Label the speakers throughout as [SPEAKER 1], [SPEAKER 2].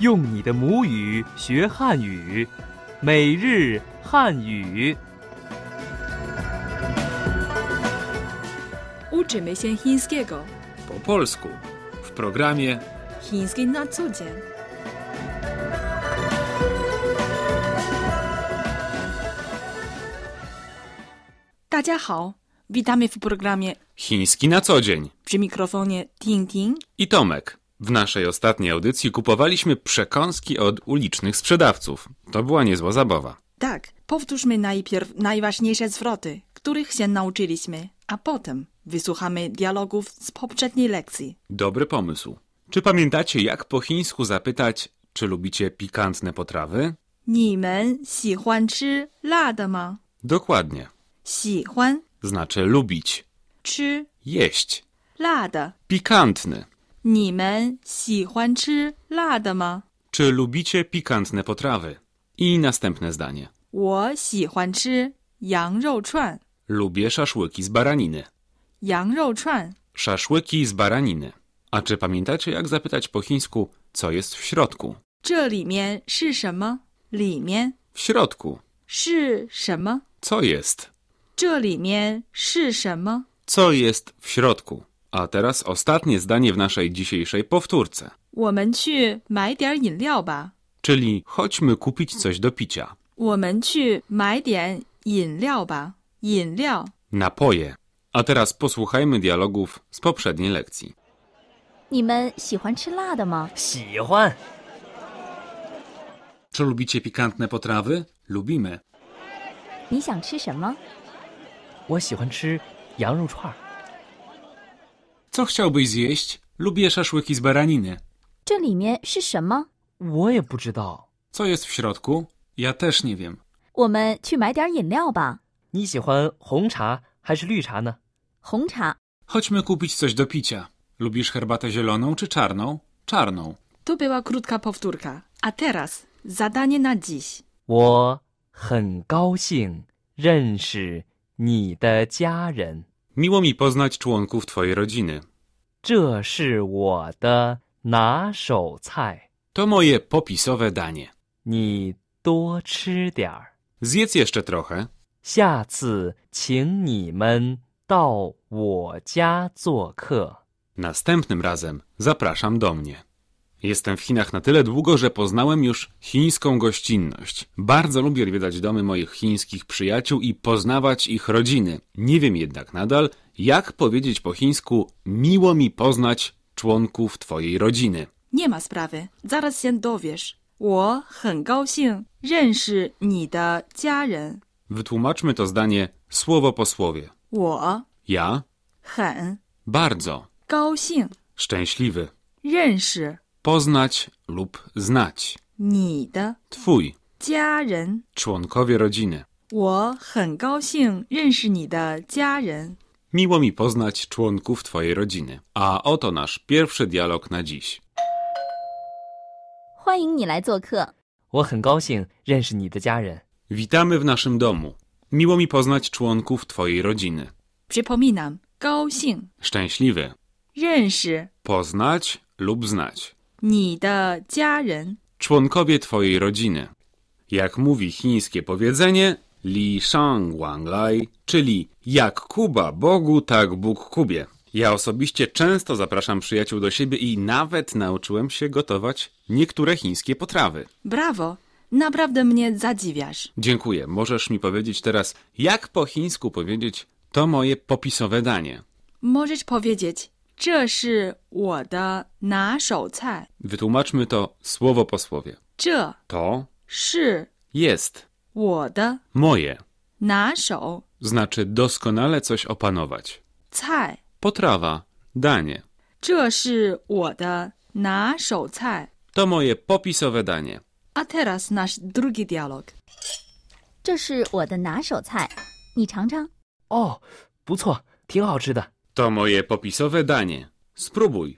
[SPEAKER 1] 用你的母语学汉语，每日汉语。
[SPEAKER 2] Uczymy się chińskiego.
[SPEAKER 3] po polsku w programie
[SPEAKER 2] Chiński na co dzień. Hao. Witamy w programie
[SPEAKER 3] Chiński na co dzień
[SPEAKER 2] przy mikrofonie Ting Ting.
[SPEAKER 3] i Tomek. W naszej ostatniej audycji kupowaliśmy przekąski od ulicznych sprzedawców. To była niezła zabawa.
[SPEAKER 2] Tak, powtórzmy najpierw najważniejsze zwroty, których się nauczyliśmy, a potem wysłuchamy dialogów z poprzedniej lekcji.
[SPEAKER 3] Dobry pomysł. Czy pamiętacie, jak po chińsku zapytać, czy lubicie pikantne potrawy?
[SPEAKER 2] 你们喜欢吃辣的吗?
[SPEAKER 3] Dokładnie.
[SPEAKER 2] 喜欢
[SPEAKER 3] Znaczy lubić,
[SPEAKER 2] 吃
[SPEAKER 3] jeść,
[SPEAKER 2] 辣的，
[SPEAKER 3] pikantny.
[SPEAKER 2] 你们喜欢吃辣的吗？
[SPEAKER 3] Czy lubicie pikantne potrawy? I następne zdanie.
[SPEAKER 2] 我喜欢吃羊肉串，
[SPEAKER 3] Lubię szaszłyki z baraniny.
[SPEAKER 2] 羊肉串
[SPEAKER 3] Szaszłyki z baraniny. A czy pamiętacie, jak zapytać po chińsku, co jest w środku?
[SPEAKER 2] 这里面是什么？里面
[SPEAKER 3] W środku.
[SPEAKER 2] 是什么？
[SPEAKER 3] Co jest?
[SPEAKER 2] 这里面是什么？
[SPEAKER 3] Co jest w środku? A teraz ostatnie zdanie w naszej dzisiejszej powtórce.
[SPEAKER 2] 我们去买点饮料吧。
[SPEAKER 3] Czyli chodźmy kupić coś do picia.
[SPEAKER 2] 我们去买点饮料吧。饮料，
[SPEAKER 3] Napoje. A teraz posłuchajmy dialogów z poprzedniej lekcji.
[SPEAKER 4] 你们喜欢吃辣的吗？
[SPEAKER 1] 喜欢
[SPEAKER 3] Czy lubicie pikantne potrawy? Lubimy.
[SPEAKER 4] 你想吃什么？
[SPEAKER 1] 我喜欢吃羊肉串儿，
[SPEAKER 3] Co chciałbyś zjeść? Lubię szaszłyki z baraniny.
[SPEAKER 4] 这里面是什么？
[SPEAKER 1] 我也不知道。
[SPEAKER 3] Co jest w środku? Ja też nie wiem.
[SPEAKER 4] 我们去买点饮料吧。
[SPEAKER 1] 你喜欢红茶还是绿茶呢？
[SPEAKER 4] 红茶，
[SPEAKER 3] Chodźmy kupić coś do picia. Lubisz herbatę zieloną czy czarną? Czarną.
[SPEAKER 2] to była krótka powtórka. A teraz zadanie na dziś.
[SPEAKER 1] 我很高兴认识你的家人，
[SPEAKER 3] Miło mi poznać członków twojej rodziny.
[SPEAKER 1] 这是我的拿手菜，
[SPEAKER 3] To moje popisowe danie.
[SPEAKER 1] 你多吃点儿。
[SPEAKER 3] Zjedz jeszcze trochę.
[SPEAKER 1] 下次请你们到我家做客。
[SPEAKER 3] Następnym razem zapraszam do mnie. Jestem w Chinach na tyle długo, że poznałem już chińską gościnność. Bardzo lubię odwiedzać domy moich chińskich przyjaciół i poznawać ich rodziny. Nie wiem jednak nadal, jak powiedzieć po chińsku miło mi poznać członków twojej rodziny.
[SPEAKER 2] Nie ma sprawy, zaraz się dowiesz. 我很高兴认识你的家人。
[SPEAKER 3] Wytłumaczmy to zdanie słowo po słowie.
[SPEAKER 2] 我
[SPEAKER 3] Ja
[SPEAKER 2] 很
[SPEAKER 3] bardzo
[SPEAKER 2] 高兴
[SPEAKER 3] szczęśliwy
[SPEAKER 2] 认识
[SPEAKER 3] poznać lub znać
[SPEAKER 2] 你的
[SPEAKER 3] twój
[SPEAKER 2] 家人。
[SPEAKER 3] członkowie rodziny.
[SPEAKER 2] 我很高兴认识你的家人。
[SPEAKER 3] Miło mi poznać członków twojej rodziny. A oto nasz pierwszy dialog na dziś.
[SPEAKER 4] 欢迎你来做客。
[SPEAKER 1] 我很高兴认识你的家人。
[SPEAKER 3] Witamy w naszym domu. Miło mi poznać członków twojej rodziny.
[SPEAKER 2] Przypominam, 高兴
[SPEAKER 3] Szczęśliwy
[SPEAKER 2] 认识
[SPEAKER 3] poznać lub znać
[SPEAKER 2] 你的家人。
[SPEAKER 3] członkowie twojej rodziny. Jak mówi chińskie powiedzenie Li Shang Wang Lai, czyli jak Kuba Bogu, tak Bóg Kubie. Ja osobiście często zapraszam przyjaciół do siebie i nawet nauczyłem się gotować niektóre chińskie potrawy.
[SPEAKER 2] Brawo, naprawdę mnie zadziwiasz.
[SPEAKER 3] Dziękuję. Możesz mi powiedzieć teraz, jak po chińsku powiedzieć to moje popisowe danie.
[SPEAKER 2] Możesz powiedzieć, 这是我的拿手菜。
[SPEAKER 3] Wytłumaczmy to słowo po słowie.
[SPEAKER 2] 这
[SPEAKER 3] To
[SPEAKER 2] 是
[SPEAKER 3] jest
[SPEAKER 2] 我的
[SPEAKER 3] moje,
[SPEAKER 2] 拿手
[SPEAKER 3] znaczy doskonale coś opanować.
[SPEAKER 2] 菜。
[SPEAKER 3] Potrawa, danie.
[SPEAKER 2] 这是我的拿手菜。
[SPEAKER 3] To moje popisowe danie.
[SPEAKER 2] A teraz nasz drugi dialog.
[SPEAKER 4] 这是我的拿手菜，你尝尝。
[SPEAKER 1] 哦，不错，挺好吃的。
[SPEAKER 3] To moje popisowe danie. Spróbuj.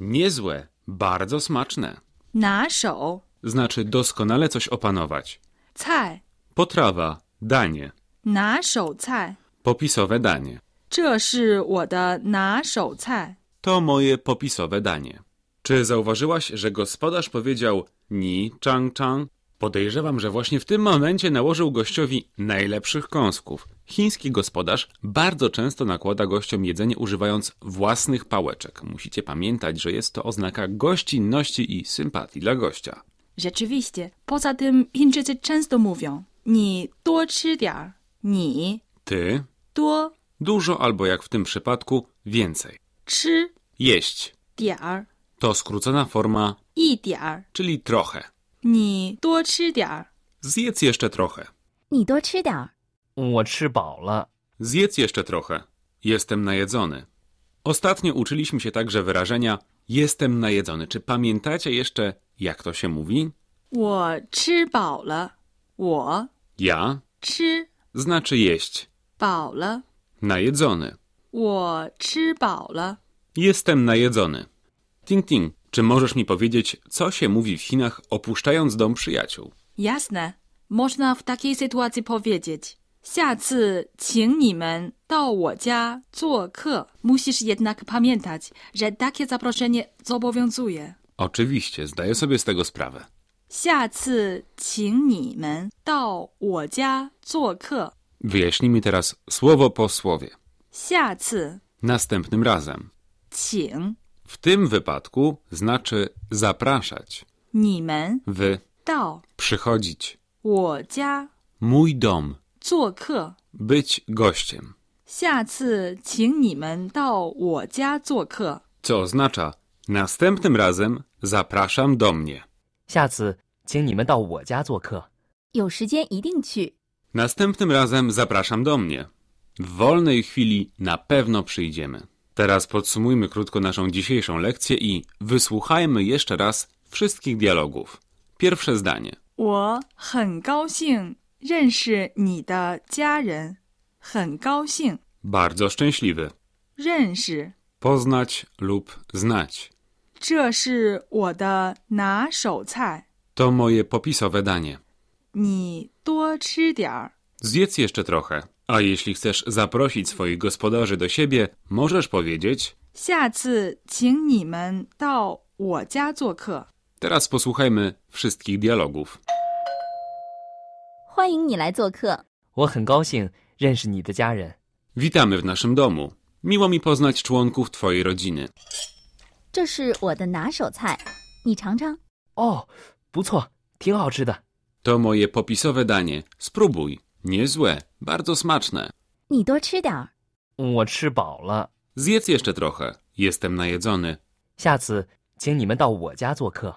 [SPEAKER 3] Niezłe, bardzo smaczne.
[SPEAKER 2] 拿手
[SPEAKER 3] Znaczy doskonale coś opanować.
[SPEAKER 2] 菜，
[SPEAKER 3] Potrawa, danie.
[SPEAKER 2] 拿手菜，
[SPEAKER 3] Popisowe danie.
[SPEAKER 2] 这是我的拿手菜。
[SPEAKER 3] To moje popisowe danie. Czy zauważyłaś, że gospodarz powiedział ni chang chang? Podejrzewam, że właśnie w tym momencie nałożył gościowi najlepszych kąsków. Chiński gospodarz bardzo często nakłada gościom jedzenie używając własnych pałeczek. Musicie pamiętać, że jest to oznaka gościnności i sympatii dla gościa.
[SPEAKER 2] Rzeczywiście. Poza tym Chińczycy często mówią: Ni duo chi diar. Ni
[SPEAKER 3] Ty
[SPEAKER 2] duo
[SPEAKER 3] dużo albo jak w tym przypadku więcej.
[SPEAKER 2] chi
[SPEAKER 3] Jeść
[SPEAKER 2] diar.
[SPEAKER 3] to skrócona forma,
[SPEAKER 2] I diar.
[SPEAKER 3] czyli trochę.
[SPEAKER 2] Ni duo chi diar.
[SPEAKER 3] Zjedz jeszcze trochę.
[SPEAKER 4] 你多吃点儿，
[SPEAKER 1] 我吃饱了，
[SPEAKER 3] Zjedz jeszcze trochę. Jestem najedzony. Ostatnio uczyliśmy się także wyrażenia jestem najedzony. Czy pamiętacie jeszcze, jak to się mówi?
[SPEAKER 2] 我吃饱了。我
[SPEAKER 3] Ja
[SPEAKER 2] 吃
[SPEAKER 3] znaczy jeść.
[SPEAKER 2] 饱了。
[SPEAKER 3] Najedzony.
[SPEAKER 2] 我吃饱了。
[SPEAKER 3] Jestem najedzony. Ting ting, czy możesz mi powiedzieć, co się mówi w Chinach opuszczając dom przyjaciół?
[SPEAKER 2] Jasne. Można w takiej sytuacji powiedzieć. 下次请你们到我家做客。Musisz jednak pamiętać, że takie zaproszenie zobowiązuje.
[SPEAKER 3] Oczywiście, zdaję sobie z tego sprawę.
[SPEAKER 2] 下次请你们到我家做客。
[SPEAKER 3] Wyjaśnij mi teraz słowo po słowie.
[SPEAKER 2] 下次
[SPEAKER 3] Następnym razem.
[SPEAKER 2] 请
[SPEAKER 3] W tym wypadku znaczy zapraszać.
[SPEAKER 2] 你们
[SPEAKER 3] Wy
[SPEAKER 2] 到
[SPEAKER 3] przychodzić.
[SPEAKER 2] 我家
[SPEAKER 3] Mój dom.
[SPEAKER 2] 做客。
[SPEAKER 3] Być gościem.
[SPEAKER 2] 下次请你们到我家做客。
[SPEAKER 3] Co oznacza następnym razem zapraszam do mnie.
[SPEAKER 1] 下次请你们到我家做客。
[SPEAKER 4] 有时间一定去。
[SPEAKER 3] Następnym razem zapraszam do mnie. W wolnej chwili na pewno przyjdziemy. Teraz podsumujmy krótko naszą dzisiejszą lekcję i wysłuchajmy jeszcze raz wszystkich dialogów. Pierwsze zdanie.
[SPEAKER 2] 我很高兴认识你的家人，很高兴
[SPEAKER 3] Bardzo szczęśliwy.
[SPEAKER 2] 认识。
[SPEAKER 3] Poznać lub znać.
[SPEAKER 2] 这是我的拿手菜，
[SPEAKER 3] To moje popisowe danie.
[SPEAKER 2] 你多吃点儿。
[SPEAKER 3] Zjedz jeszcze trochę. A jeśli chcesz zaprosić swoich gospodarzy do siebie, możesz powiedzieć
[SPEAKER 2] 下次请你们到我家做客。
[SPEAKER 3] Teraz posłuchajmy wszystkich dialogów.
[SPEAKER 4] 欢迎你来做客，
[SPEAKER 1] 我很高兴认识你的家人，
[SPEAKER 3] Witamy w naszym domu. Miło mi poznać członków Twojej rodziny.
[SPEAKER 4] 这是我的拿手菜，你尝尝。
[SPEAKER 1] 哦，不错，挺好吃的。
[SPEAKER 3] To moje popisowe danie. Spróbuj. Niezłe, bardzo smaczne.
[SPEAKER 4] 你多吃点儿，
[SPEAKER 1] 我吃饱了，
[SPEAKER 3] Zjedz jeszcze trochę. Jestem najedzony.
[SPEAKER 1] 下次请你们到我家做客。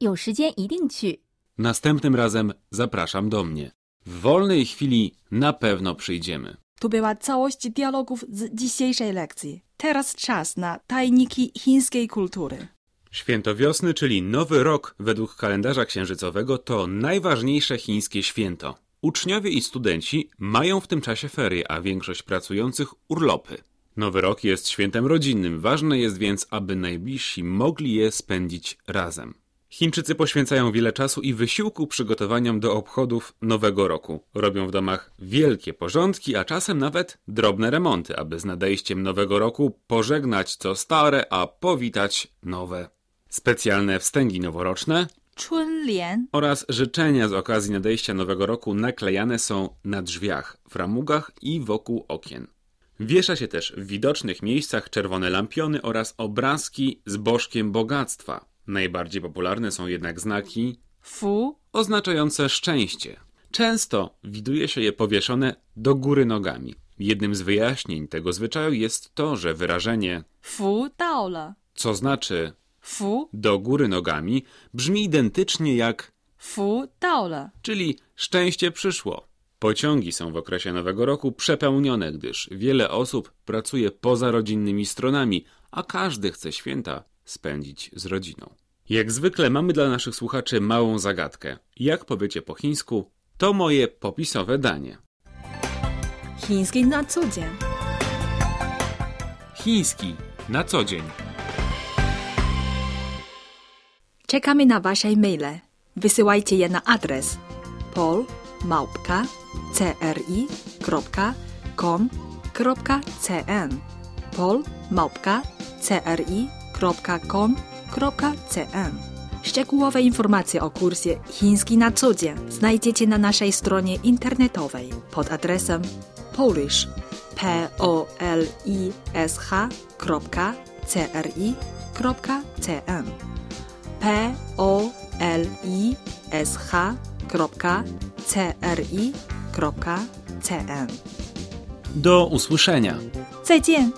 [SPEAKER 4] 有时间一定去。
[SPEAKER 3] Następnym razem zapraszam do mnie. W wolnej chwili na pewno przyjdziemy.
[SPEAKER 2] To była całość dialogów z dzisiejszej lekcji. Teraz czas na tajniki chińskiej kultury.
[SPEAKER 3] Święto wiosny, czyli Nowy Rok według kalendarza księżycowego, to najważniejsze chińskie święto. Uczniowie i studenci mają w tym czasie ferie, a większość pracujących urlopy. Nowy Rok jest świętem rodzinnym, ważne jest więc, aby najbliżsi mogli je spędzić razem. Chińczycy poświęcają wiele czasu i wysiłku przygotowaniom do obchodów Nowego Roku. Robią w domach wielkie porządki, a czasem nawet drobne remonty, aby z nadejściem Nowego Roku pożegnać co stare, a powitać nowe. Specjalne wstęgi noworoczne
[SPEAKER 2] Chunlian
[SPEAKER 3] oraz życzenia z okazji nadejścia Nowego Roku naklejane są na drzwiach, framugach i wokół okien. Wiesza się też w widocznych miejscach czerwone lampiony oraz obrazki z bożkiem bogactwa. Najbardziej popularne są jednak znaki
[SPEAKER 2] Fu
[SPEAKER 3] oznaczające szczęście. Często widuje się je powieszone do góry nogami. Jednym z wyjaśnień tego zwyczaju jest to, że wyrażenie
[SPEAKER 2] Fu Dao Le
[SPEAKER 3] co znaczy
[SPEAKER 2] Fu
[SPEAKER 3] do góry nogami brzmi identycznie jak
[SPEAKER 2] Fu Dao Le
[SPEAKER 3] czyli szczęście przyszło. Pociągi są w okresie Nowego Roku przepełnione, gdyż wiele osób pracuje poza rodzinnymi stronami, a każdy chce święta spędzić z rodziną. Jak zwykle mamy dla naszych słuchaczy małą zagadkę. Jak powiecie po chińsku, to moje popisowe danie.
[SPEAKER 2] Chiński na co dzień.
[SPEAKER 3] Chiński na co dzień.
[SPEAKER 2] Czekamy na Wasze maile. Wysyłajcie je na adres polmałpka.cri.com.cn polmałpka.cri.com.cn www.chiński.cn. Szczegółowe informacje o kursie Chiński na co dzień znajdziecie na naszej stronie internetowej pod adresem polish p o l i s h c r i c n p o l i s h c r i c n
[SPEAKER 3] Do usłyszenia!
[SPEAKER 2] 再见。